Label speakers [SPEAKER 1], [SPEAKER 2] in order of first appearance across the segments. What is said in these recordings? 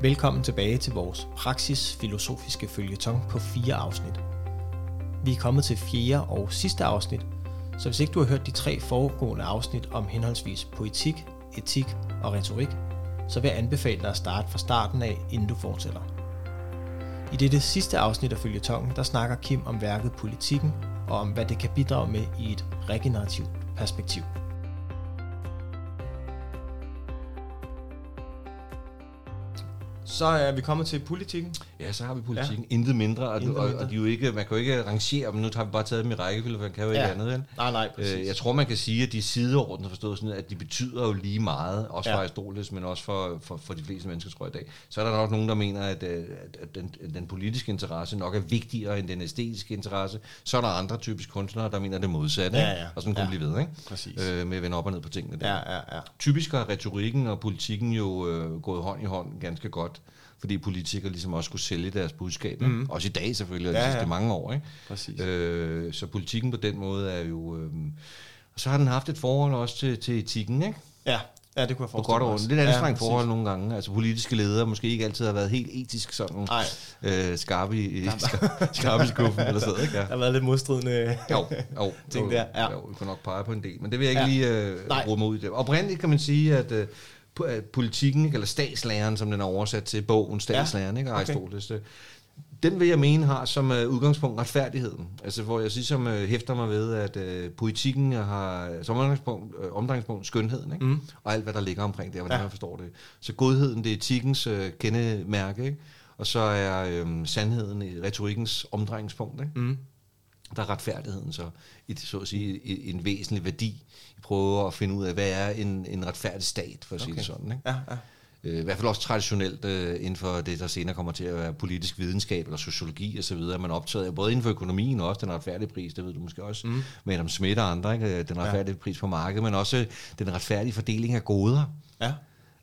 [SPEAKER 1] Velkommen tilbage til vores praksisfilosofiske følgetong på fire afsnit. Vi er kommet til fjerde og sidste afsnit, så hvis ikke du har hørt de tre foregående afsnit om henholdsvis poetik, etik og retorik, så vil jeg anbefale dig at starte fra starten af, inden du fortsætter. I dette sidste afsnit af følgetongen, der snakker Kim om værket Politikken og om, hvad det kan bidrage med i et regenerativt perspektiv. Så er vi kommet til politikken.
[SPEAKER 2] Ja, så har vi politikken. Ja. Intet mindre, og,
[SPEAKER 1] Intet
[SPEAKER 2] Intet mindre.
[SPEAKER 1] mindre.
[SPEAKER 2] og, og de er jo ikke, man kan jo ikke rangere dem. Nu har vi bare taget dem i rækkefølge, for man kan jo ikke
[SPEAKER 1] Ja.
[SPEAKER 2] andet. Vel?
[SPEAKER 1] Nej, nej, præcis.
[SPEAKER 2] Øh, jeg tror, man kan sige, at de sideordner forstået sådan, at de betyder jo lige meget, også
[SPEAKER 1] Ja.
[SPEAKER 2] ja. for Aristoteles, men også for, for, for de fleste mennesker, tror jeg i dag. Så er der nok nogen, der mener, at, øh, at, at den, at den politiske interesse nok er vigtigere end den æstetiske interesse. Så er der andre typisk kunstnere, der mener det modsatte,
[SPEAKER 1] Ja,
[SPEAKER 2] ikke?
[SPEAKER 1] ja.
[SPEAKER 2] og sådan kunne
[SPEAKER 1] Ja.
[SPEAKER 2] ja. blive ved, ikke?
[SPEAKER 1] Præcis.
[SPEAKER 2] Øh, med at vende op og ned på tingene. Der.
[SPEAKER 1] Ja, ja, ja.
[SPEAKER 2] Typisk har retorikken og politikken jo øh, gået hånd i hånd ganske godt, fordi politikere ligesom også skulle sælge deres budskab. Mm. Også i dag selvfølgelig, og de
[SPEAKER 1] Ja,
[SPEAKER 2] ja,
[SPEAKER 1] ja.
[SPEAKER 2] sidste mange år. Ikke?
[SPEAKER 1] Præcis.
[SPEAKER 2] Øh, så politikken på den måde er jo... Øh, og så har den haft et forhold også til, til etikken, ikke?
[SPEAKER 1] Ja, ja det kunne jeg
[SPEAKER 2] På
[SPEAKER 1] forestille
[SPEAKER 2] godt og
[SPEAKER 1] mig
[SPEAKER 2] ondt.
[SPEAKER 1] også.
[SPEAKER 2] Lidt anstrengt
[SPEAKER 1] ja,
[SPEAKER 2] ja, forhold nogle gange. Altså politiske ledere måske ikke altid har været helt etisk sådan
[SPEAKER 1] Nej.
[SPEAKER 2] øh, skarpe, i, skarpe i skuffen eller sådan noget, ikke? Ja.
[SPEAKER 1] Der har været lidt modstridende. øh.
[SPEAKER 2] Jo, jo,
[SPEAKER 1] Ting
[SPEAKER 2] jo,
[SPEAKER 1] der, ja.
[SPEAKER 2] jo, vi kunne nok pege på en del, men det vil jeg ikke
[SPEAKER 1] Ja.
[SPEAKER 2] ja. lige øh,
[SPEAKER 1] Nej.
[SPEAKER 2] bruge mig ud i det. Oprindeligt kan man sige, at øh, po- at politikken, ikke, eller statslæren, som den er oversat til, bogen Statslæren, ja. ikke,
[SPEAKER 1] okay.
[SPEAKER 2] Aristoteles, øh, den vil jeg mene har som øh, udgangspunkt retfærdigheden. Altså hvor jeg siger, som øh, hæfter mig ved, at øh, politikken har som omdrejningspunkt, øh, omdrejningspunkt skønheden, ikke? Mm. og alt hvad der ligger omkring det, og hvordan
[SPEAKER 1] Ja.
[SPEAKER 2] ja. man forstår det. Så godheden, det er etikkens øh, kendemærke, ikke? og så er øh, sandheden øh, retorikkens omdrejningspunkt. Ikke?
[SPEAKER 1] Mm.
[SPEAKER 2] der er retfærdigheden så et, så at sige, et, en væsentlig værdi. Vi prøver at finde ud af, hvad er en, en retfærdig stat, for at okay. sige det sådan. Ikke?
[SPEAKER 1] Ja, ja.
[SPEAKER 2] Øh, I hvert fald også traditionelt øh, inden for det, der senere kommer til at være politisk videnskab eller sociologi osv., er man optaget af både inden for økonomien og også den retfærdige pris, det ved du måske også, mm. med Adam Smith og andre, ikke? Øh, den retfærdige ja. pris på markedet, men også øh, den retfærdige fordeling af goder.
[SPEAKER 1] ja.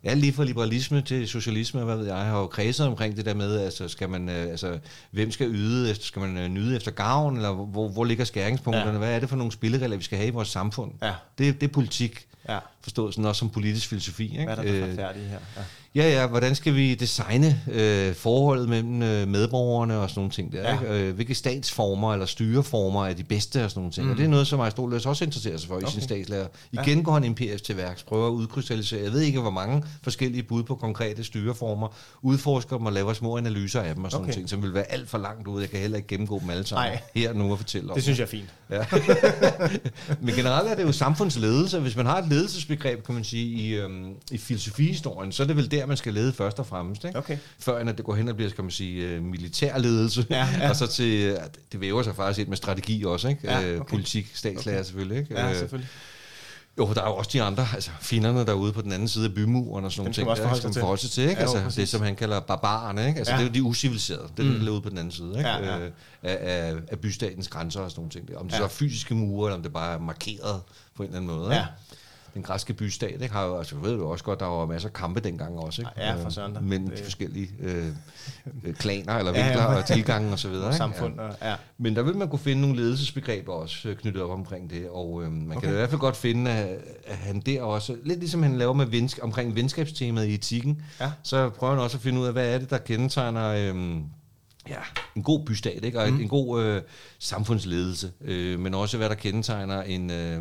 [SPEAKER 2] Ja, lige fra liberalisme til socialisme, og hvad ved jeg, har jo kredset omkring det der med, altså, skal man, øh, altså, hvem skal yde, efter, skal man øh, nyde efter gavn, eller hvor, hvor ligger skæringspunkterne,
[SPEAKER 1] Ja.
[SPEAKER 2] ja. hvad er det for nogle spilleregler, vi skal have i vores samfund?
[SPEAKER 1] Ja.
[SPEAKER 2] Det, det er politik,
[SPEAKER 1] ja.
[SPEAKER 2] forstået sådan også som politisk filosofi. Ikke?
[SPEAKER 1] Hvad er der for
[SPEAKER 2] Øh,
[SPEAKER 1] retfærdigt her? Ja.
[SPEAKER 2] Ja, ja, hvordan skal vi designe øh, forholdet mellem øh, medborgerne og sådan nogle ting der,
[SPEAKER 1] Ja.
[SPEAKER 2] ja. ikke? Øh, hvilke statsformer eller styreformer er de bedste og sådan nogle ting, mm. og det er noget, som Aristoteles også interesserer sig for okay. i sin statslærer. Igen ja. går han empirisk til værks, prøver at udkrystallisere, jeg ved ikke, hvor mange forskellige bud på konkrete styreformer, udforsker dem og laver små analyser af dem og sådan
[SPEAKER 1] Okay.
[SPEAKER 2] okay. ting, som vil være alt for langt ude, jeg kan heller ikke gennemgå dem alle sammen
[SPEAKER 1] Nej.
[SPEAKER 2] her nu og fortælle om.
[SPEAKER 1] Det synes jeg er fint.
[SPEAKER 2] Ja. Men generelt er det jo samfundsledelse. Hvis man har et ledelsesbegreb, kan man sige, i, øhm, i filosofihistorien, så er det vel der, man skal lede først og fremmest. Ikke?
[SPEAKER 1] Okay.
[SPEAKER 2] Før end at det går hen og bliver, skal man sige, øh, militærledelse.
[SPEAKER 1] Ja, ja.
[SPEAKER 2] Og så til, øh, det væver sig faktisk ind med strategi også, ikke?
[SPEAKER 1] Ja,
[SPEAKER 2] Øh,
[SPEAKER 1] okay.
[SPEAKER 2] Politik, statslærer okay. selvfølgelig, ikke?
[SPEAKER 1] Ja,
[SPEAKER 2] Øh,
[SPEAKER 1] selvfølgelig.
[SPEAKER 2] jo, der er jo også de andre, altså finnerne derude på den anden side af bymuren og sådan
[SPEAKER 1] Dem
[SPEAKER 2] nogle
[SPEAKER 1] skal
[SPEAKER 2] ting,
[SPEAKER 1] man også
[SPEAKER 2] der,
[SPEAKER 1] forholde
[SPEAKER 2] skal
[SPEAKER 1] sig til.
[SPEAKER 2] man forholde sig til, ikke?
[SPEAKER 1] Ja, jo,
[SPEAKER 2] altså,
[SPEAKER 1] præcis.
[SPEAKER 2] det, som han kalder barbarerne, ikke? Altså,
[SPEAKER 1] Ja.
[SPEAKER 2] ja. det er jo de usiviliserede, det er mm. derude på den anden side, ikke?
[SPEAKER 1] Ja, ja.
[SPEAKER 2] Øh, af, af, af bystatens grænser og sådan nogle ting. der. Om det
[SPEAKER 1] Ja.
[SPEAKER 2] ja. så er fysiske mure, eller om det bare er markeret på en eller anden måde,
[SPEAKER 1] Ja.
[SPEAKER 2] ikke? Den græske bystat, ikke, har jo, altså ved du også godt, der var masser af kampe dengang også, ikke?
[SPEAKER 1] Ja, for
[SPEAKER 2] Øh,
[SPEAKER 1] søren da.
[SPEAKER 2] Mellem
[SPEAKER 1] Det-
[SPEAKER 2] de forskellige øh, øh, klaner, eller
[SPEAKER 1] Ja, ja.
[SPEAKER 2] vinkler og tilgangen og så videre, ikke?
[SPEAKER 1] Samfund og... Ja.
[SPEAKER 2] Men der vil man kunne finde nogle ledelsesbegreber også øh, knyttet op omkring det, og øhm, man okay. kan i hvert fald godt finde, at, at han der også, lidt ligesom han laver med vensk- omkring venskabstemaet i etikken,
[SPEAKER 1] Ja.
[SPEAKER 2] så prøver han også at finde ud af, hvad er det, der kendetegner øhm, ja, en god bystat, ikke? og mm. en god øh, samfundsledelse, øh, men også hvad der kendetegner en, øh,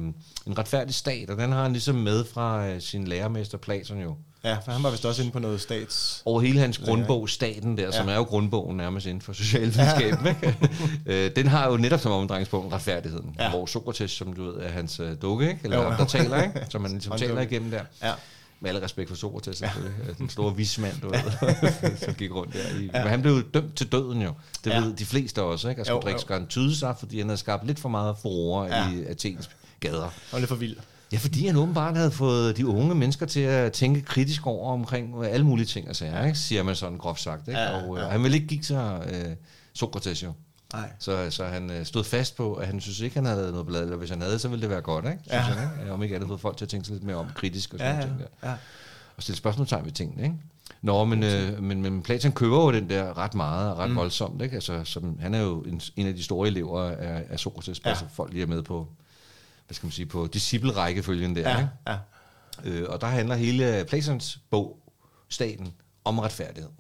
[SPEAKER 2] en retfærdig stat, og den har han ligesom med fra øh, sin lærermester Platon jo
[SPEAKER 1] ja, for han var vist også inde på noget stats...
[SPEAKER 2] over hele hans grundbog, Staten der, ja. som er jo grundbogen nærmest inden for socialvidenskaben, ja. den har jo netop som omdrejningspunkt retfærdigheden,
[SPEAKER 1] Ja.
[SPEAKER 2] ja. hvor Sokrates, som du ved, er hans øh, dukke, ikke? eller
[SPEAKER 1] Jo.
[SPEAKER 2] ham, der taler, ikke? som han ligesom
[SPEAKER 1] Hånddukke.
[SPEAKER 2] taler igennem der.
[SPEAKER 1] Ja.
[SPEAKER 2] Med al respekt for Sokrates, selvfølgelig. Ja. Den store vismand, du ved, som gik rundt der. I. Men han blev jo dømt til døden jo. Det
[SPEAKER 1] Ja.
[SPEAKER 2] ved de fleste også, ikke? Og skulle
[SPEAKER 1] Jo,
[SPEAKER 2] drikke
[SPEAKER 1] jo.
[SPEAKER 2] skarn fordi han havde skabt lidt for meget forår
[SPEAKER 1] Ja.
[SPEAKER 2] ja. i Athens gader.
[SPEAKER 1] Han var lidt for vild.
[SPEAKER 2] Ja, fordi han åbenbart havde fået de unge mennesker til at tænke kritisk over omkring øh, alle mulige ting og sager, ikke? siger man sådan groft sagt. Ikke?
[SPEAKER 1] Ja,
[SPEAKER 2] og øh,
[SPEAKER 1] ja.
[SPEAKER 2] han ville ikke give sig øh, Sokrates jo.
[SPEAKER 1] Nej.
[SPEAKER 2] Så, så han øh, stod fast på, at han synes ikke, han havde lavet noget blad, eller hvis han havde, så ville det være godt, ikke? Synes
[SPEAKER 1] Ja.
[SPEAKER 2] han, ikke? Om ikke andet fået folk til at tænke sig lidt mere om kritisk og
[SPEAKER 1] Ja,
[SPEAKER 2] sådan ja,
[SPEAKER 1] ja,
[SPEAKER 2] ting der.
[SPEAKER 1] ja.
[SPEAKER 2] Og stille spørgsmålstegn ved tingene, ikke? Nå, men, øh, men, men Platon køber jo den der ret meget og ret mm. voldsomt, ikke? Altså, som, han er jo en, en af de store elever af, af Sokrates,
[SPEAKER 1] Ja.
[SPEAKER 2] ja. så folk lige er med på, hvad skal man sige, på disciplerækkefølgen der,
[SPEAKER 1] Ja,
[SPEAKER 2] ikke?
[SPEAKER 1] ja.
[SPEAKER 2] Øh, og der handler hele Platons bog, Staten, om retfærdighed.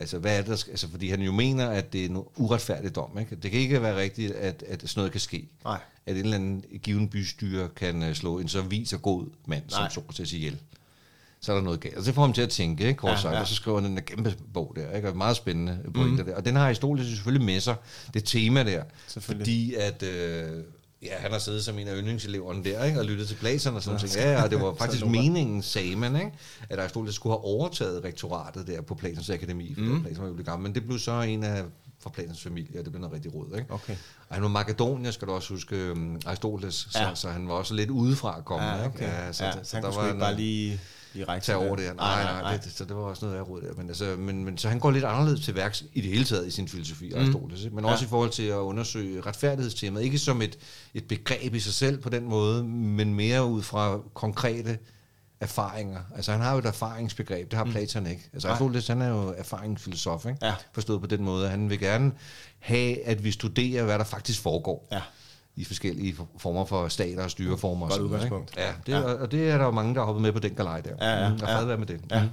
[SPEAKER 2] Altså, hvad er det, der sk- altså, fordi han jo mener, at det er en uretfærdig dom. Ikke? Det kan ikke være rigtigt, at, at sådan noget kan ske.
[SPEAKER 1] Nej.
[SPEAKER 2] At en eller anden given bystyre kan øh, slå en så vis og god mand,
[SPEAKER 1] Nej.
[SPEAKER 2] Nej. som Sokrates ihjel. Så er der noget galt. Og det får ham til at tænke, ikke? kort
[SPEAKER 1] Ja,
[SPEAKER 2] ja, sagt.
[SPEAKER 1] ja. Mhm.
[SPEAKER 2] Ja. Og så skriver han den der kæmpe bog der. Ikke? Og meget spændende pointer mm. der. Og den har Aristoteles selvfølgelig med sig, det tema der.
[SPEAKER 1] Selvfølgelig.
[SPEAKER 2] Fordi at... Øh, Ja, han har siddet som en af yndlingseleverne der, ikke? og lyttet til Platon og sådan noget. Ja, ja, og det var faktisk
[SPEAKER 1] lort.
[SPEAKER 2] meningen, sagde man, ikke? at Aristoteles skulle have overtaget rektoratet der på Platons Akademi, for
[SPEAKER 1] Mhm.
[SPEAKER 2] mm. Platon var jo blevet gammel, men det blev så en af fra Platons familie, og det blev noget rigtig råd. Ikke?
[SPEAKER 1] Okay.
[SPEAKER 2] Og han var makedonier, skal du også huske, øhm, Aristoteles, ja.
[SPEAKER 1] Ja.
[SPEAKER 2] så, så, han var også lidt udefra kommet.
[SPEAKER 1] Ja,
[SPEAKER 2] ikke?
[SPEAKER 1] okay. Ja,
[SPEAKER 2] så,
[SPEAKER 1] ja,
[SPEAKER 2] så,
[SPEAKER 1] så,
[SPEAKER 2] så
[SPEAKER 1] han
[SPEAKER 2] der
[SPEAKER 1] kunne sgu
[SPEAKER 2] var
[SPEAKER 1] ikke
[SPEAKER 2] en, øh,
[SPEAKER 1] bare lige, lige række
[SPEAKER 2] tage
[SPEAKER 1] til
[SPEAKER 2] over
[SPEAKER 1] det.
[SPEAKER 2] det. Nej, nej, nej. Det, så det var også noget af råd der. Men, altså, men, men, så han går lidt anderledes til værks i det hele taget i sin filosofi, mm. Aristoteles, ikke? men
[SPEAKER 1] Ja.
[SPEAKER 2] også i forhold til at undersøge retfærdighedstemaet. Ikke som et, et begreb i sig selv på den måde, men mere ud fra konkrete erfaringer. Altså han har jo et erfaringsbegreb, det har Platon ikke. Altså
[SPEAKER 1] Nej.
[SPEAKER 2] Aristoteles, han er jo erfaringsfilosof, ikke?
[SPEAKER 1] Ja.
[SPEAKER 2] forstået på den måde, at han vil gerne have, at vi studerer, hvad der faktisk foregår
[SPEAKER 1] Ja,
[SPEAKER 2] i forskellige former for stater og styreformer. og
[SPEAKER 1] Godt
[SPEAKER 2] sådan noget, ikke?
[SPEAKER 1] udgangspunkt.
[SPEAKER 2] Ja, det, ja. Og det er der jo mange, der har hoppet med på den galej der.
[SPEAKER 1] Ja, ja,
[SPEAKER 2] Mm, og
[SPEAKER 1] ja.
[SPEAKER 2] fred være med det.
[SPEAKER 1] Ja.
[SPEAKER 2] Mm.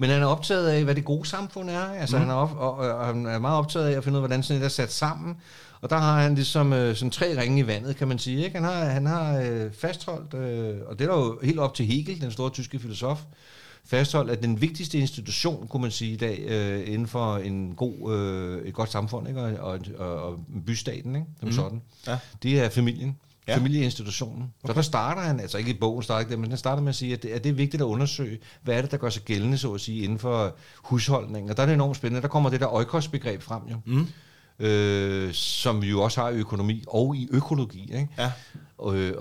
[SPEAKER 2] Men han er optaget af, hvad det gode samfund er. Altså, mm. han, er op, og, og, han er meget optaget af at finde ud af, hvordan sådan et er sat sammen. Og der har han ligesom øh, sådan tre ringe i vandet, kan man sige. Ikke? Han har, han har øh, fastholdt, øh, og det er der jo helt op til Hegel, den store tyske filosof, fastholdt, at den vigtigste institution, kunne man sige i dag, øh, inden for en god, øh, et godt samfund, ikke? Og, og, og, og bystaten, ikke? som mm. sådan,
[SPEAKER 1] Ja.
[SPEAKER 2] det er familien.
[SPEAKER 1] Ja.
[SPEAKER 2] Ja. Familieinstitutionen. Okay. Så der starter han, altså ikke i bogen starter ikke det, men han starter med at sige, at det, at det er vigtigt at undersøge, hvad er det, der gør sig gældende, så at sige, inden for husholdningen. Og der er det enormt spændende. Der kommer det der øjkostbegreb frem, jo. Mm. Øh, som vi jo også har i økonomi og i økologi. Ikke?
[SPEAKER 1] ja.
[SPEAKER 2] Og, øh,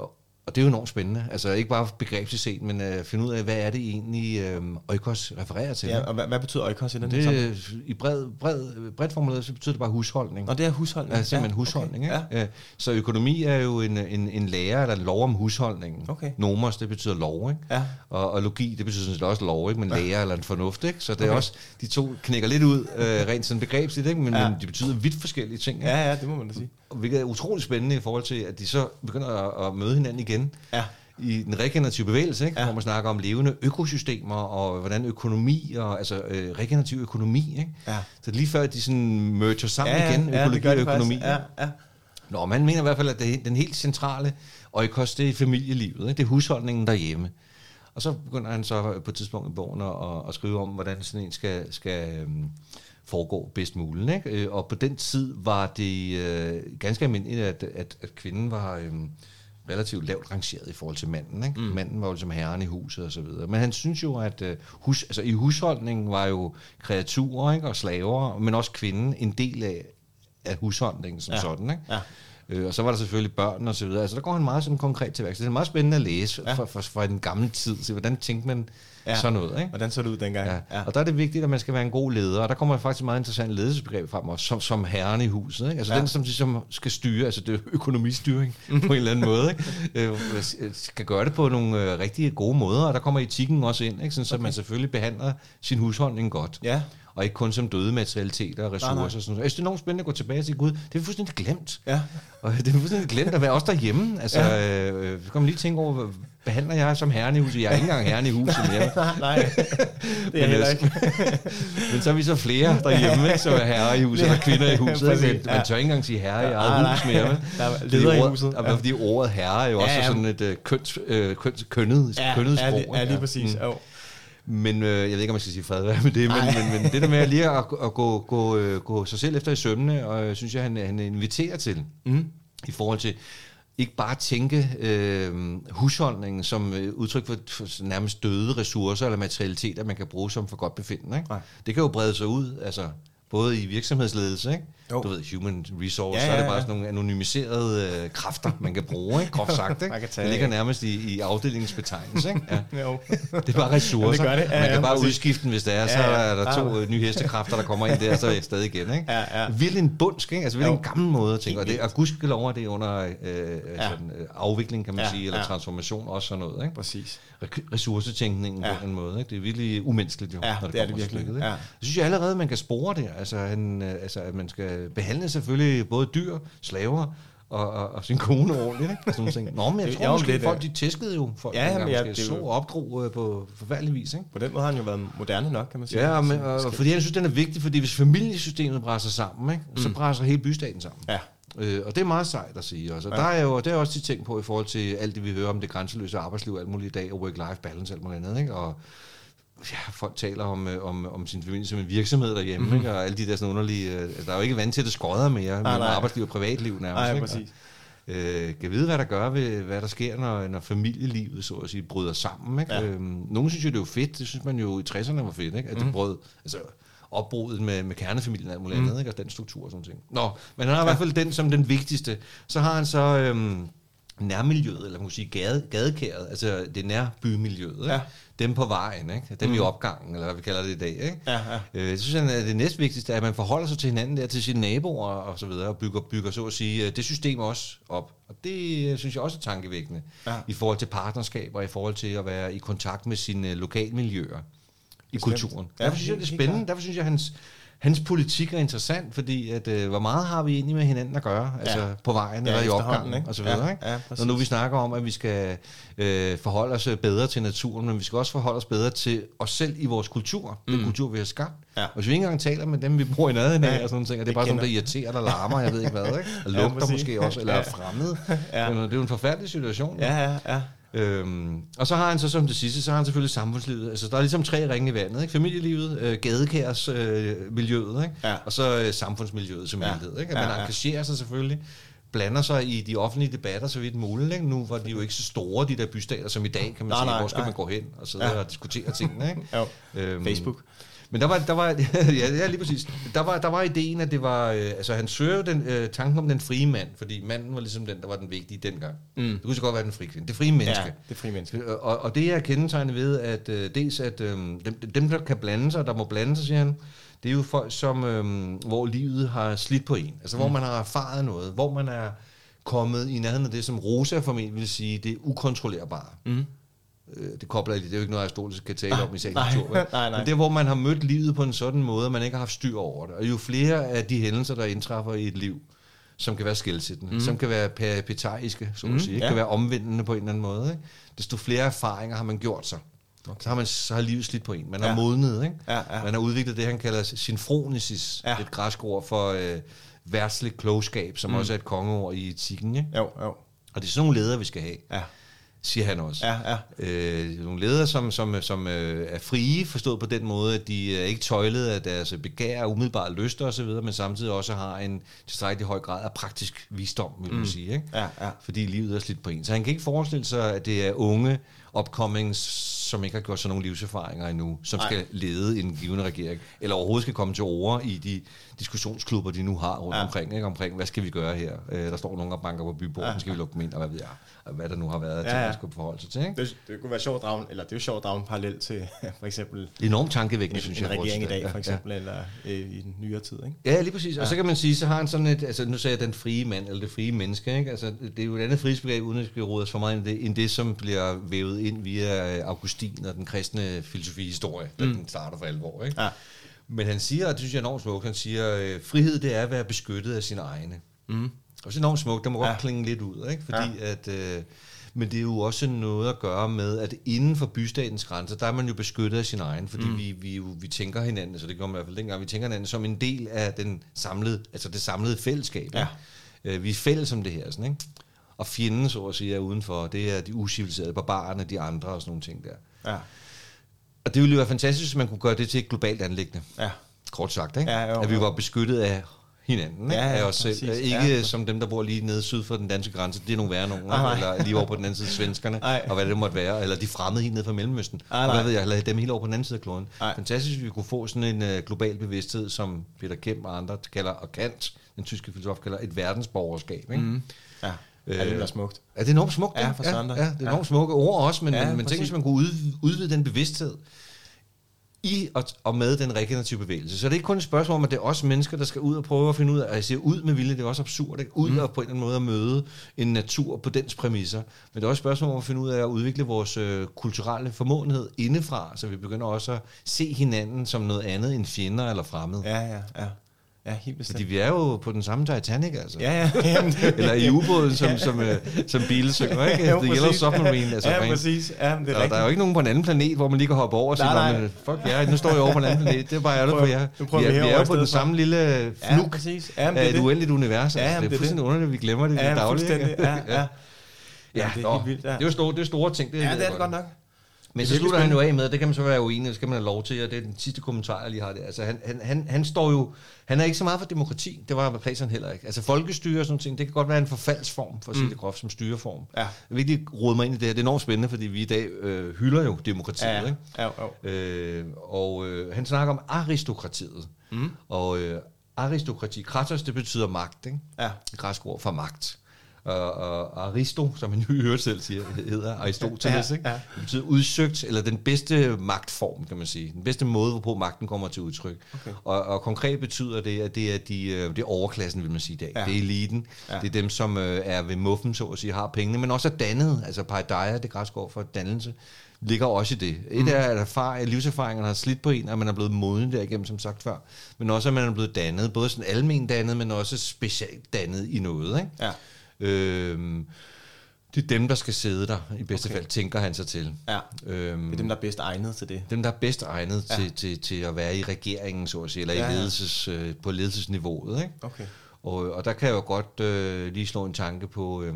[SPEAKER 2] og det er jo enormt spændende. Altså ikke bare begrebsligt set, men øh, finde ud af, hvad er det egentlig, øh, øjkost refererer til.
[SPEAKER 1] ja
[SPEAKER 2] ikke?
[SPEAKER 1] og hvad, hvad betyder øjekost i den her sammenhæng?
[SPEAKER 2] det, øh, I bred, bred, bredt formuleret, så betyder det bare husholdning.
[SPEAKER 1] Nå, det er husholdning.
[SPEAKER 2] Ja, simpelthen ja, husholdning.
[SPEAKER 1] Altså, Okay.
[SPEAKER 2] Okay.
[SPEAKER 1] Ja.
[SPEAKER 2] Ikke? Ja. Så økonomi er jo en, en, en lære eller en lov om husholdningen.
[SPEAKER 1] Okay.
[SPEAKER 2] Nomos, det betyder lov, ikke?
[SPEAKER 1] Ja.
[SPEAKER 2] Og, og logi, det betyder sådan set også lov, ikke? Men lære eller en fornuft, ikke? Så det er
[SPEAKER 1] Okay.
[SPEAKER 2] også, de to knækker lidt ud, øh, rent sådan begrebsligt, ikke? Men,
[SPEAKER 1] Ja.
[SPEAKER 2] ja. men de betyder vidt forskellige ting, ikke?
[SPEAKER 1] ja, ja, det må man da sige.
[SPEAKER 2] Og Hvilket er utrolig spændende i forhold til, at de så begynder at, at møde hinanden igen
[SPEAKER 1] Ja.
[SPEAKER 2] i den regenerative bevægelse, ikke?
[SPEAKER 1] Ja.
[SPEAKER 2] Ja. hvor man snakker om levende økosystemer og hvordan økonomi, og, altså øh, regenerativ økonomi. Ikke?
[SPEAKER 1] Ja.
[SPEAKER 2] Så lige før de sådan merger sammen
[SPEAKER 1] ja,
[SPEAKER 2] igen,
[SPEAKER 1] ja, det
[SPEAKER 2] økologi
[SPEAKER 1] gør
[SPEAKER 2] og
[SPEAKER 1] det
[SPEAKER 2] økonomi.
[SPEAKER 1] faktisk. Ja, ja.
[SPEAKER 2] Nå, man mener i hvert fald, at det, den helt centrale øjekost, det er familielivet. Ikke? Det er husholdningen derhjemme. Og så begynder han så på et tidspunkt i bogen at, at, at skrive om, hvordan sådan en skal, skal øhm, foregå bedst muligt. Ikke? Øh, Og på den tid var det øh, ganske almindeligt, at, at, at kvinden var øhm, relativt lavt rangeret i forhold til manden. Ikke? Mm. Manden var jo ligesom herren i huset og så videre. Men han synes jo, at øh, hus, altså, i husholdningen var jo kreaturer ikke? og slaver, men også kvinden en del af, af husholdningen som
[SPEAKER 1] Ja.
[SPEAKER 2] ja. sådan. Ikke?
[SPEAKER 1] Ja.
[SPEAKER 2] Øh, og så var der selvfølgelig børn og så videre. Altså, der går han meget sådan konkret til værks. Det er meget spændende at læse
[SPEAKER 1] Ja.
[SPEAKER 2] ja. fra, fra, fra den gamle tid. Så hvordan tænkte man
[SPEAKER 1] Ja.
[SPEAKER 2] ja. sådan noget, ikke?
[SPEAKER 1] Hvordan så det ud dengang?
[SPEAKER 2] Ja. ja. Og der er det vigtigt, at man skal være en god leder. Og der kommer faktisk et meget interessant ledelsesbegreb frem også, som, som herren i huset. Ikke? Altså
[SPEAKER 1] Ja. Mhm.
[SPEAKER 2] ja. den, som, som skal styre, altså det er økonomistyring på en eller anden måde. Ikke? Øh, skal gøre det på nogle øh, rigtig gode måder. Og der kommer etikken også ind, ikke? Sådan, så man selvfølgelig behandler sin husholdning godt
[SPEAKER 1] ja.
[SPEAKER 2] og ikke kun som døde materialiteter og ressourcer.
[SPEAKER 1] nej.
[SPEAKER 2] Og sådan noget. Jeg synes, det er enormt spændende at gå tilbage og sige, gud, det er vi fuldstændig glemt.
[SPEAKER 1] Ja.
[SPEAKER 2] Og det er fuldstændig glemt at være også derhjemme. Altså, ja. øh, så kan man lige tænke over, hvad behandler jeg som herren i huset? Jeg er ikke engang herren i huset mere.
[SPEAKER 1] Nej, nej. Det er
[SPEAKER 2] Men,
[SPEAKER 1] heller
[SPEAKER 2] øh,
[SPEAKER 1] ikke.
[SPEAKER 2] Men så er vi så flere derhjemme, ikke, som er herrer i huset, og kvinder i huset.
[SPEAKER 1] Præcis,
[SPEAKER 2] Ikke? Men
[SPEAKER 1] ja.
[SPEAKER 2] Man tør ikke engang sige herre i
[SPEAKER 1] Nej,
[SPEAKER 2] eget
[SPEAKER 1] nej.
[SPEAKER 2] hus mere. vel?
[SPEAKER 1] Der er
[SPEAKER 2] Fordi
[SPEAKER 1] leder i
[SPEAKER 2] ordet-
[SPEAKER 1] huset,
[SPEAKER 2] og
[SPEAKER 1] ja.
[SPEAKER 2] Fordi ordet herre er jo også
[SPEAKER 1] Ja, ja.
[SPEAKER 2] sådan et øh, køns, øh, køns, kønnet,
[SPEAKER 1] Ja,
[SPEAKER 2] kønnet
[SPEAKER 1] ja,
[SPEAKER 2] sprog.
[SPEAKER 1] lige, ja,
[SPEAKER 2] ikke?
[SPEAKER 1] lige præcis.
[SPEAKER 2] Mm.
[SPEAKER 1] Jo.
[SPEAKER 2] Men øh, jeg ved ikke, om man skal sige fred være med det, men,
[SPEAKER 1] Nej.
[SPEAKER 2] men, men det der med at lige at, at gå, gå, øh, gå sig selv efter i sømne, og øh, synes jeg, han, han inviterer til, mm. i forhold til ikke bare at tænke øh, husholdningen som øh, udtryk for, for nærmest døde ressourcer eller materialiteter, man kan bruge som for godt befindende. Ikke?
[SPEAKER 1] Nej.
[SPEAKER 2] Det kan jo brede sig ud, altså både i virksomhedsledelse, ikke?
[SPEAKER 1] Jo.
[SPEAKER 2] du ved, human resource,
[SPEAKER 1] Ja,
[SPEAKER 2] ja, så er
[SPEAKER 1] ja,
[SPEAKER 2] det bare
[SPEAKER 1] ja.
[SPEAKER 2] sådan nogle anonymiserede øh, kræfter, man kan bruge, ikke? groft sagt.
[SPEAKER 1] Man kan
[SPEAKER 2] Ikke?
[SPEAKER 1] tage
[SPEAKER 2] Det ligger
[SPEAKER 1] af.
[SPEAKER 2] nærmest i, i afdelingens betegnelse. Ikke? Ja.
[SPEAKER 1] Jo.
[SPEAKER 2] Det er bare ressourcer.
[SPEAKER 1] Ja, det gør det. Ja,
[SPEAKER 2] man kan
[SPEAKER 1] ja,
[SPEAKER 2] bare
[SPEAKER 1] præcis.
[SPEAKER 2] udskifte den, hvis det er. Så
[SPEAKER 1] Ja,
[SPEAKER 2] ja,
[SPEAKER 1] ja.
[SPEAKER 2] er der to
[SPEAKER 1] Ja.
[SPEAKER 2] øh, nye hestekræfter, der kommer ind der, så er det stadig igen. Ikke?
[SPEAKER 1] Ja, ja.
[SPEAKER 2] Virkelig en bundsk, ikke? Altså virkelig
[SPEAKER 1] Jo.
[SPEAKER 2] en gammel måde at tænke. Og,
[SPEAKER 1] Helt
[SPEAKER 2] det, og gudskelov er det under øh, øh, sådan, øh, afvikling, kan man
[SPEAKER 1] Ja,
[SPEAKER 2] sige, eller
[SPEAKER 1] ja.
[SPEAKER 2] transformation, også sådan noget. Ikke?
[SPEAKER 1] Præcis.
[SPEAKER 2] Re- Ressourcetænkningen
[SPEAKER 1] Ja.
[SPEAKER 2] på en måde. Ikke? Det er virkelig umenneskeligt, jo,
[SPEAKER 1] Ja,
[SPEAKER 2] når
[SPEAKER 1] det er det
[SPEAKER 2] kommer til
[SPEAKER 1] virkelig.
[SPEAKER 2] stykket, ikke?
[SPEAKER 1] Ja.
[SPEAKER 2] Jeg synes jeg allerede, man kan spore det. Altså, han, øh, altså, at man skal behandle selvfølgelig både dyr, slaver, og, og, og sin kone ordentligt. Ikke? Sådan nogle ting. Nå, men jeg
[SPEAKER 1] Det-
[SPEAKER 2] tror
[SPEAKER 1] jo,
[SPEAKER 2] måske,
[SPEAKER 1] det er
[SPEAKER 2] folk
[SPEAKER 1] det.
[SPEAKER 2] de tæskede jo. Folk
[SPEAKER 1] Ja,
[SPEAKER 2] ja, dengang,
[SPEAKER 1] jamen, ja,
[SPEAKER 2] ja,
[SPEAKER 1] det er
[SPEAKER 2] måske,
[SPEAKER 1] jo-
[SPEAKER 2] slog og opdrog øh, på forfærdelig vis. Ikke?
[SPEAKER 1] På den måde har han jo været moderne nok, kan man sige.
[SPEAKER 2] Ja, men,
[SPEAKER 1] Så-
[SPEAKER 2] og, fordi jeg synes, den er vigtig, fordi hvis familiesystemet brænder sammen, ikke, så brænder hele bystaten sammen.
[SPEAKER 1] ja.
[SPEAKER 2] Øh, og det er meget sejt at sige også. Og ja. der er jo, og det er jeg også tit tænkt på i forhold til alt det, vi hører om det grænseløse arbejdsliv, alt muligt i dag, og work-life balance, alt muligt andet, ikke? Og ja, folk taler om, øh, om, om sin familie som en virksomhed derhjemme, mm-hmm. ikke? Og alle de der sådan underlige... øh, Altså, der er jo ikke vand til, at det skodder mere, nej, mellem
[SPEAKER 1] nej.
[SPEAKER 2] arbejdsliv og privatliv nærmest,
[SPEAKER 1] Ej,
[SPEAKER 2] ikke?
[SPEAKER 1] præcis.
[SPEAKER 2] Øh, kan vide, hvad der gør ved, hvad der sker, når, når familielivet, så at sige, bryder sammen. Ikke?
[SPEAKER 1] Ja.
[SPEAKER 2] Ja. Øhm, nogle synes jo, det er jo fedt. Det synes man jo i 60'erne var fedt, ikke? at mm.
[SPEAKER 1] Mhm.
[SPEAKER 2] det brød... Altså, opbruddet med, med kernefamilien og alt muligt mm. andet, ikke? og den struktur og sådan ting. Nå, men han har i hvert fald den som den vigtigste. Så har han så øhm, nærmiljøet, eller man kan sige gade, gadekæret, altså det nærbymiljøet. Ikke?
[SPEAKER 1] Ja. Mhm.
[SPEAKER 2] Dem på vejen, ikke? dem mm. i opgangen, eller hvad vi kalder det i dag. Ikke?
[SPEAKER 1] Ja, ja.
[SPEAKER 2] Øh, jeg synes, at det næstvigtigste er, at man forholder sig til hinanden der, til sine naboer og så videre, og bygger, bygger så at sige øh, det system også op. Og det øh, synes jeg også er tankevækkende,
[SPEAKER 1] Ja.
[SPEAKER 2] ja. i forhold til partnerskaber, i forhold til at være i kontakt med sine øh, lokalmiljøer i kulturen.
[SPEAKER 1] Ja,
[SPEAKER 2] Ja, derfor synes jeg,
[SPEAKER 1] helt-
[SPEAKER 2] det er
[SPEAKER 1] helt
[SPEAKER 2] spændende. Derfor synes jeg, hans, hans politik er interessant, fordi at, øh, hvor meget har vi egentlig med hinanden at gøre? Altså
[SPEAKER 1] Ja.
[SPEAKER 2] på vejen
[SPEAKER 1] Ja,
[SPEAKER 2] eller i
[SPEAKER 1] efterhånden,
[SPEAKER 2] opgangen
[SPEAKER 1] ikke?
[SPEAKER 2] og så videre.
[SPEAKER 1] Ja,
[SPEAKER 2] ikke?
[SPEAKER 1] ja, præcis.
[SPEAKER 2] Når nu vi snakker om, at vi skal øh, forholde os bedre til naturen, men vi skal også forholde os bedre til os selv i vores kultur, mm. den kultur, vi har skabt.
[SPEAKER 1] Ja.
[SPEAKER 2] Og hvis vi ikke engang taler med dem, vi bor i nærheden af,
[SPEAKER 1] Ja,
[SPEAKER 2] ja, og sådan nogle ting, og det
[SPEAKER 1] det
[SPEAKER 2] er bare sådan,
[SPEAKER 1] kender.
[SPEAKER 2] der irriterer, der larmer, jeg ved ikke hvad, ikke? og
[SPEAKER 1] Ja,
[SPEAKER 2] lugter
[SPEAKER 1] præcis.
[SPEAKER 2] ja, måske også, eller
[SPEAKER 1] Ja.
[SPEAKER 2] er fremmed.
[SPEAKER 1] Ja.
[SPEAKER 2] Ja. Det er jo en forfærdelig situation.
[SPEAKER 1] Ja, ja, ja.
[SPEAKER 2] Øhm, og så har han så som det sidste, så har han selvfølgelig samfundslivet. Altså der er ligesom tre ringe i vandet, ikke? Familielivet, øh, gadekærs øh, miljøet, ikke?
[SPEAKER 1] Ja.
[SPEAKER 2] Og så øh, samfundsmiljøet som
[SPEAKER 1] Ja.
[SPEAKER 2] helhed, ikke? At
[SPEAKER 1] Ja,
[SPEAKER 2] man
[SPEAKER 1] ja.
[SPEAKER 2] engagerer sig selvfølgelig blander sig i de offentlige debatter så vidt muligt. Ikke? Nu var de jo ikke så store, de der bystater, som i dag, kan man
[SPEAKER 1] Nej,
[SPEAKER 2] sige.
[SPEAKER 1] nej,
[SPEAKER 2] Hvor skal
[SPEAKER 1] nej.
[SPEAKER 2] man gå hen og sidde
[SPEAKER 1] Ja.
[SPEAKER 2] og diskutere tingene? Ikke?
[SPEAKER 1] Jo.
[SPEAKER 2] Øhm,
[SPEAKER 1] Facebook.
[SPEAKER 2] Men der var, der var ja, ja, lige præcis. Der var, der var ideen, at det var, øh, altså han søger jo den, øh, tanken om den frie mand, fordi manden var ligesom den, der var den vigtige dengang. Mm. Det kunne så godt være den frie kvinde. Det frie menneske.
[SPEAKER 1] Ja, det er frie menneske.
[SPEAKER 2] Øh, Og, og det er kendetegnet ved, at øh, dels at øh, dem, dem, der kan blande sig, der må blande sig, siger han, det er jo folk, som, øh, hvor livet har slidt på en. Altså,
[SPEAKER 1] Mm.
[SPEAKER 2] hvor man har erfaret noget, hvor man er kommet i nærheden af det, som Rosa formentlig vil sige, det er ukontrollerbare. Mm. Øh, det kobler jeg lige, det er jo ikke noget, Aristoteles kan tale om i sagens
[SPEAKER 1] nej,
[SPEAKER 2] natur. vel?
[SPEAKER 1] nej, nej.
[SPEAKER 2] Men det er, hvor man har mødt livet på en sådan måde, at man ikke har haft styr over det. Og jo flere af de hændelser, der indtræffer i et liv, som kan være skældsættende, mm. som kan være peripetariske, så at mm, sige, ikke?
[SPEAKER 1] ja.
[SPEAKER 2] kan være omvendende på en eller anden måde. Ikke? Desto flere erfaringer har man gjort sig. Okay. Så, har man, så har livet slidt på en. Man har
[SPEAKER 1] Ja.
[SPEAKER 2] modnet. Ikke?
[SPEAKER 1] Ja, ja.
[SPEAKER 2] Man har udviklet det, han kalder sinfronisis,
[SPEAKER 1] Ja.
[SPEAKER 2] ja. et græsk ord for øh, værtslig klogskab, som mm. også er et kongeord i etikken. Ikke?
[SPEAKER 1] Jo, jo.
[SPEAKER 2] Og det er sådan nogle ledere, vi skal have,
[SPEAKER 1] Ja,
[SPEAKER 2] siger han også.
[SPEAKER 1] ja, ja.
[SPEAKER 2] Øh, nogle ledere, som, som, som øh, er frie, forstået på den måde, at de er ikke tøjlet af deres begær, umiddelbare lyster osv., men samtidig også har en tilstrækkelig høj grad af praktisk visdom, vil man mm. sige. Ikke?
[SPEAKER 1] Ja, ja.
[SPEAKER 2] Fordi livet er slidt på en. Så han kan ikke forestille sig, at det er unge upcomings, som ikke har gjort sådan nogle livserfaringer endnu, som
[SPEAKER 1] Nej.
[SPEAKER 2] Nej. skal lede en givende regering, eller overhovedet skal komme til ord i de diskussionsklubber, de nu har rundt
[SPEAKER 1] Ja.
[SPEAKER 2] ja. omkring, ikke? omkring, hvad skal vi gøre her? Øh, der står nogen og banker på byborgen, ja. skal vi lukke dem ind, og hvad ved jeg, og hvad der nu har været, ja,
[SPEAKER 1] Ja,
[SPEAKER 2] ja.
[SPEAKER 1] ja.
[SPEAKER 2] til at skulle forholde sig til. Ikke?
[SPEAKER 1] Det, det kunne være sjovt at drage, en- eller det er jo sjovt at drage en parallel til for eksempel
[SPEAKER 2] enormt tankevækkende,
[SPEAKER 1] en,
[SPEAKER 2] synes
[SPEAKER 1] en
[SPEAKER 2] jeg.
[SPEAKER 1] regering i dag,
[SPEAKER 2] forhold til det.
[SPEAKER 1] for
[SPEAKER 2] Ja,
[SPEAKER 1] eksempel, eller øh, i den nyere tid, ikke?
[SPEAKER 2] Ja, ja lige præcis. Ja. Og så kan man sige, så har han sådan et, altså nu sagde jeg den frie mand, eller det frie menneske, ikke? Altså, det er jo et andet frihedsbegreb, uden at vi skal rode os for meget ind i det, end det, som bliver vævet ind via øh, Augustin og den kristne filosofihistorie,
[SPEAKER 1] Mm.
[SPEAKER 2] da den starter for alvor, ikke?
[SPEAKER 1] Ja.
[SPEAKER 2] Men han siger, og det synes jeg er enormt smukt, han siger, øh, frihed det er at være beskyttet af sine egne. Mm. Og så enormt smukt, der må
[SPEAKER 1] Ja.
[SPEAKER 2] ja. godt klinge lidt ud, ikke? Fordi ja. at... Øh, men det er jo også noget at gøre med, at inden for bystatens grænser, der er man jo beskyttet af sin egen, fordi mm. vi, vi, jo- vi tænker hinanden, så det gør man i hvert fald dengang, vi tænker hinanden som en del af den samlede, altså det samlede fællesskab.
[SPEAKER 1] Ja.
[SPEAKER 2] ikke? Øh, Vi er fælles om det her, sådan, ikke? Og fjenden, så at sige, er udenfor. Det er de usiviliserede barbarerne, de andre og sådan nogle ting der.
[SPEAKER 1] Ja,
[SPEAKER 2] Og det ville jo være fantastisk, hvis man kunne gøre det til et globalt anlæggende.
[SPEAKER 1] ja,
[SPEAKER 2] Kort sagt, ikke?
[SPEAKER 1] Ja, jo,
[SPEAKER 2] at vi
[SPEAKER 1] jo.
[SPEAKER 2] var beskyttet af hinanden, ikke?
[SPEAKER 1] Ja, ja,
[SPEAKER 2] af os selv.
[SPEAKER 1] præcis.
[SPEAKER 2] Ikke
[SPEAKER 1] Ja.
[SPEAKER 2] som dem, der bor lige nede syd for den danske grænse, det er nogle værre nogen,
[SPEAKER 1] Nej, nej.
[SPEAKER 2] eller lige over på den anden side svenskerne,
[SPEAKER 1] Nej.
[SPEAKER 2] og hvad det måtte være, eller de fremmede helt nede fra Mellemøsten,
[SPEAKER 1] Nej,
[SPEAKER 2] og
[SPEAKER 1] nej.
[SPEAKER 2] hvad ved jeg, eller dem helt over på den anden side af kloden.
[SPEAKER 1] Nej.
[SPEAKER 2] Fantastisk, hvis vi kunne få sådan en øh, global bevidsthed, som Peter Kemp og andre kalder, og Kant, den tyske filosof, kalder et verdensborgerskab. Ikke? Mm.
[SPEAKER 1] ja. ja det er smukt.
[SPEAKER 2] Er det enormt smukt?
[SPEAKER 1] Ja,
[SPEAKER 2] ikke?
[SPEAKER 1] for
[SPEAKER 2] ja,
[SPEAKER 1] søren da.
[SPEAKER 2] ja, det er enormt smukke ord også, men,
[SPEAKER 1] Ja,
[SPEAKER 2] ja, men
[SPEAKER 1] præcis.
[SPEAKER 2] tænk, hvis man kunne udvide, udvide den bevidsthed i og, og med den regenerative bevægelse. Så det er ikke kun et spørgsmål om, at det er os mennesker, der skal ud og prøve at finde ud af, at jeg siger ud med vilje, det er også absurd, ikke? ud mm. og på en eller anden måde at møde en natur på dens præmisser. Men det er også et spørgsmål om at finde ud af at udvikle vores øh, kulturelle formåenhed indefra, så vi begynder også at se hinanden som noget andet end fjender eller fremmede.
[SPEAKER 1] Ja, ja, ja. Ja, helt bestemt.
[SPEAKER 2] Fordi vi er jo på den samme Titanic, altså.
[SPEAKER 1] Ja, ja. Jamen, det-
[SPEAKER 2] Eller i ubåden, som, som, øh, som Bill synger, ikke?
[SPEAKER 1] Jo,
[SPEAKER 2] The Yellow
[SPEAKER 1] præcis.
[SPEAKER 2] Submarine. Altså,
[SPEAKER 1] ja,
[SPEAKER 2] rent-
[SPEAKER 1] præcis. Ja, men det er
[SPEAKER 2] og der er jo
[SPEAKER 1] rigtigt.
[SPEAKER 2] ikke nogen på en anden planet, hvor man lige kan hoppe over og sige,
[SPEAKER 1] Nej,
[SPEAKER 2] nej,
[SPEAKER 1] nej.
[SPEAKER 2] nej. fuck jer, nu står jeg over på en anden planet. Det er bare ærligt
[SPEAKER 1] Nu
[SPEAKER 2] for
[SPEAKER 1] prøver-
[SPEAKER 2] jer.
[SPEAKER 1] nu prøver
[SPEAKER 2] vi
[SPEAKER 1] vi
[SPEAKER 2] er, vi
[SPEAKER 1] herover
[SPEAKER 2] er jo
[SPEAKER 1] i
[SPEAKER 2] på den
[SPEAKER 1] stedet for.
[SPEAKER 2] samme lille
[SPEAKER 1] Ja,
[SPEAKER 2] fluk
[SPEAKER 1] præcis. Ja, men det
[SPEAKER 2] af et
[SPEAKER 1] er det.
[SPEAKER 2] uendeligt univers.
[SPEAKER 1] Ja,
[SPEAKER 2] Ja, altså,
[SPEAKER 1] jamen,
[SPEAKER 2] det
[SPEAKER 1] det
[SPEAKER 2] er
[SPEAKER 1] er
[SPEAKER 2] fuldstændig underligt, at vi glemmer det
[SPEAKER 1] Ja,
[SPEAKER 2] ja, dagligt.
[SPEAKER 1] fuldstændig.
[SPEAKER 2] ikke?
[SPEAKER 1] Ja, ja.
[SPEAKER 2] ja,
[SPEAKER 1] Jamen, det er
[SPEAKER 2] nå.
[SPEAKER 1] helt vildt, ja.
[SPEAKER 2] Det er jo store, det er store ting. Det,
[SPEAKER 1] Ja,
[SPEAKER 2] ved
[SPEAKER 1] det er
[SPEAKER 2] jeg
[SPEAKER 1] det godt nok.
[SPEAKER 2] Men
[SPEAKER 1] Det
[SPEAKER 2] så
[SPEAKER 1] er virkelig
[SPEAKER 2] slutter han jo af med, og det kan man så være uenig, i, det skal man have lov til, og det er den sidste kommentar, jeg lige har det. Altså, han, han, han, han står jo, han er ikke så meget for demokrati, det var Platon heller ikke. Altså, folkestyre og sådan noget, det kan godt være en forfaldsform, for at sige
[SPEAKER 1] Mm.
[SPEAKER 2] det groft, som styreform.
[SPEAKER 1] Ja.
[SPEAKER 2] Jeg vil ikke lige rode mig ind i det her, det er enormt spændende, fordi vi i dag øh, hylder jo demokratiet,
[SPEAKER 1] Ja,
[SPEAKER 2] ikke?
[SPEAKER 1] ja, ja.
[SPEAKER 2] Øh, og øh, han snakker om aristokratiet. Mm. Og øh, aristokrati, kratos, det betyder magt, ikke?
[SPEAKER 1] Ja.
[SPEAKER 2] Et græsk ord for magt. Og, og aristo, som han jo i øvrigt selv siger, hedder Aristoteles,
[SPEAKER 1] Ja,
[SPEAKER 2] ja, ikke?
[SPEAKER 1] ja.
[SPEAKER 2] Ja. Det betyder udsøgt, eller den bedste magtform, kan man sige. Den bedste måde, hvorpå magten kommer til udtryk.
[SPEAKER 1] Okay.
[SPEAKER 2] Og, og konkret betyder det, at det er, de, øh, det er overklassen, vil man sige i dag.
[SPEAKER 1] Ja.
[SPEAKER 2] Ja. Det er eliten.
[SPEAKER 1] Ja.
[SPEAKER 2] Ja. Det er dem, som øh, er ved muffen, så at sige, har pengene, men også er dannet. Altså paideia, det græske ord for dannelse, ligger også i det.
[SPEAKER 1] Mm.
[SPEAKER 2] Et er, at erfar- livserfaringerne har slidt på en, og man er blevet moden derigennem, som sagt før. Men også, at man er blevet dannet. Både sådan almen dannet, men også specielt dannet i noget. Ikke?
[SPEAKER 1] Ja.
[SPEAKER 2] Øhm, det er dem, der skal sidde der, i bedste
[SPEAKER 1] Okay.
[SPEAKER 2] okay. fald, tænker han sig til.
[SPEAKER 1] Ja.
[SPEAKER 2] Øhm,
[SPEAKER 1] Det er dem, der er bedst egnet til det.
[SPEAKER 2] dem, der er bedst egnet
[SPEAKER 1] Ja.
[SPEAKER 2] ja. til, til, til at være i regeringen, så at sige, eller
[SPEAKER 1] Ja,
[SPEAKER 2] ja,
[SPEAKER 1] ja.
[SPEAKER 2] i ledelses, øh, på ledelsesniveauet. Ikke?
[SPEAKER 1] Okay.
[SPEAKER 2] Og, og der kan jeg jo godt øh, lige slå en tanke på, øh,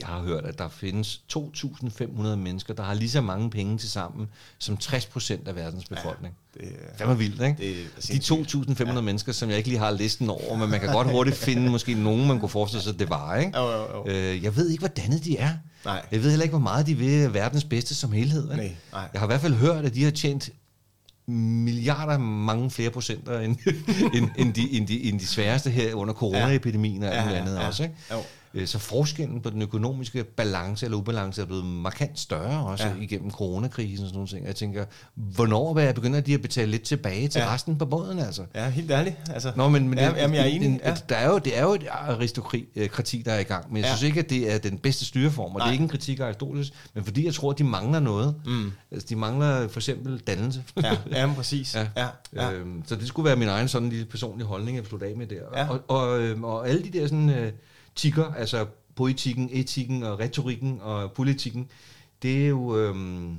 [SPEAKER 2] jeg har hørt, at der findes 2.500 mennesker, der har lige så mange penge til sammen, som 60% af verdens befolkning. Ja.
[SPEAKER 1] Det er,
[SPEAKER 2] Fandme vildt, ikke?
[SPEAKER 1] det er
[SPEAKER 2] De 2.500 ja. mennesker, som jeg ikke lige har listen over, men man kan godt hurtigt finde måske nogen, man kunne forestille sig, at det var, ikke?
[SPEAKER 1] Jo, jo, jo.
[SPEAKER 2] Øh, jeg ved ikke, hvor dannet de er.
[SPEAKER 1] Nej.
[SPEAKER 2] Jeg ved heller ikke, hvor meget de vil verdens bedste som helhed. vel?
[SPEAKER 1] Nej, nej.
[SPEAKER 2] Jeg har i hvert fald hørt, at de har tjent milliarder mange flere procenter end, end, end, de, end, de, end de sværeste her under coronaepidemien og
[SPEAKER 1] Ja,
[SPEAKER 2] alt muligt
[SPEAKER 1] ja,
[SPEAKER 2] andet
[SPEAKER 1] ja.
[SPEAKER 2] også. Ikke?
[SPEAKER 1] Jo.
[SPEAKER 2] Øh, Så forskellen på den økonomiske balance eller ubalance er blevet markant større også
[SPEAKER 1] Ja.
[SPEAKER 2] ja. igennem coronakrisen og sådan nogle ting. Og Jeg tænker, hvornår jeg begynder de at betale lidt tilbage til
[SPEAKER 1] Ja.
[SPEAKER 2] ja. resten på båden altså?
[SPEAKER 1] Ja, helt ærligt. Altså,
[SPEAKER 2] Nå, men, men
[SPEAKER 1] ja,
[SPEAKER 2] det,
[SPEAKER 1] jamen, jeg er enig.
[SPEAKER 2] En,
[SPEAKER 1] ja.
[SPEAKER 2] ja. der er jo, det er jo et aristokrati, øh, der er i gang, men jeg
[SPEAKER 1] Ja.
[SPEAKER 2] ja. synes ikke, at det er den bedste styreform, og Nej. det
[SPEAKER 1] Nej.
[SPEAKER 2] er ikke en kritik af Aristoteles, men fordi jeg tror, at de mangler noget. Mm. Altså, de mangler for eksempel dannelse.
[SPEAKER 1] Ja, ja, men præcis. Ja, Øh.
[SPEAKER 2] Ja.
[SPEAKER 1] ja. ja.
[SPEAKER 2] Øhm, så det skulle være min egen sådan lille personlige holdning, jeg slutte af med der.
[SPEAKER 1] Ja.
[SPEAKER 2] Ja. Og, og, øhm, og alle de der sådan øh, tikker, altså poetikken, etikken og retorikken og politikken, det er jo øhm,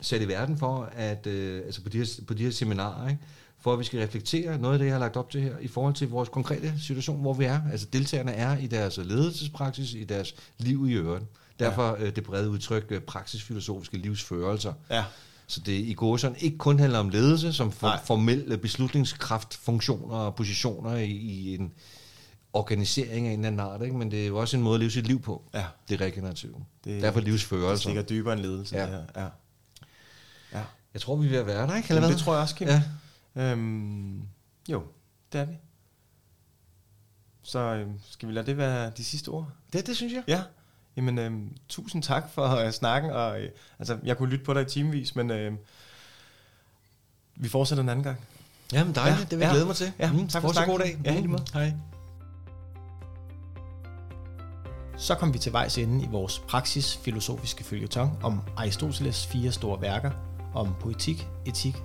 [SPEAKER 2] sat i verden for, at øh, altså på de her, på de her seminarer, ikke? for at vi skal reflektere noget af det, jeg har lagt op til her, i forhold til vores konkrete situation, hvor vi er. Altså deltagerne er i deres ledelsespraksis, i deres liv i øvrigt. Derfor øh, det brede udtryk øh, praksisfilosofiske livsførelser.
[SPEAKER 1] ja.
[SPEAKER 2] Så det i gåsøjne ikke kun handler om ledelse, som for,
[SPEAKER 1] Nej.
[SPEAKER 2] formel beslutningskraft, funktioner og positioner i, i en organisering af en eller anden art, ikke? men det er jo også en måde at leve sit liv på,
[SPEAKER 1] Ja.
[SPEAKER 2] det regenerative.
[SPEAKER 1] Det-
[SPEAKER 2] Det, Derfor
[SPEAKER 1] Det
[SPEAKER 2] livsførelse.
[SPEAKER 1] stikker dybere end ledelse.
[SPEAKER 2] Ja.
[SPEAKER 1] Ja. Det her. ja. ja.
[SPEAKER 2] Jeg tror, vi er ved at være der, ikke? Eller
[SPEAKER 1] Jamen,
[SPEAKER 2] hvad?
[SPEAKER 1] det tror jeg også, Kim.
[SPEAKER 2] Ja.
[SPEAKER 1] Øhm, jo, det er vi. Så øhm, skal vi lade det være de sidste ord?
[SPEAKER 2] Det, det synes jeg.
[SPEAKER 1] Ja. Jamen, øhm, tusind tak for øh, snakken. Og, øh, altså, jeg kunne lytte på dig i timevis, men øh, vi fortsætter en anden gang.
[SPEAKER 2] Jamen dejligt,
[SPEAKER 1] Ja,
[SPEAKER 2] ja. det vil jeg
[SPEAKER 1] ja.
[SPEAKER 2] glæde mig til. Mm,
[SPEAKER 1] Ja, tak for
[SPEAKER 2] fortsat
[SPEAKER 1] snakken.
[SPEAKER 2] god dag. Mm.
[SPEAKER 1] Ja, i lige måde.
[SPEAKER 2] Hej.
[SPEAKER 1] Så kom vi til vejs ende i vores praksisfilosofiske følgetong om Aristoteles fire store værker om poetik, etik,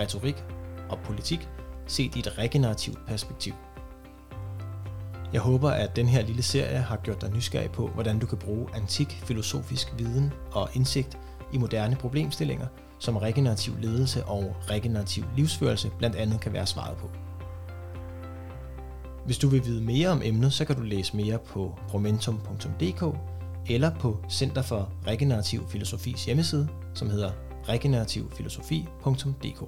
[SPEAKER 1] retorik og politik set i et regenerativt perspektiv. Jeg håber, at den her lille serie har gjort dig nysgerrig på, hvordan du kan bruge antik filosofisk viden og indsigt i moderne problemstillinger, som regenerativ ledelse og regenerativ livsførelse blandt andet kan være svaret på. Hvis du vil vide mere om emnet, så kan du læse mere på promentum.dk eller på Center for Regenerativ Filosofis hjemmeside, som hedder regenerativfilosofi.dk.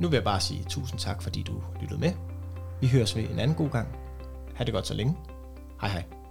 [SPEAKER 1] Nu vil jeg bare sige tusind tak, fordi du lyttede med. Vi høres ved en anden god gang. Ha' det godt så længe. Hej hej.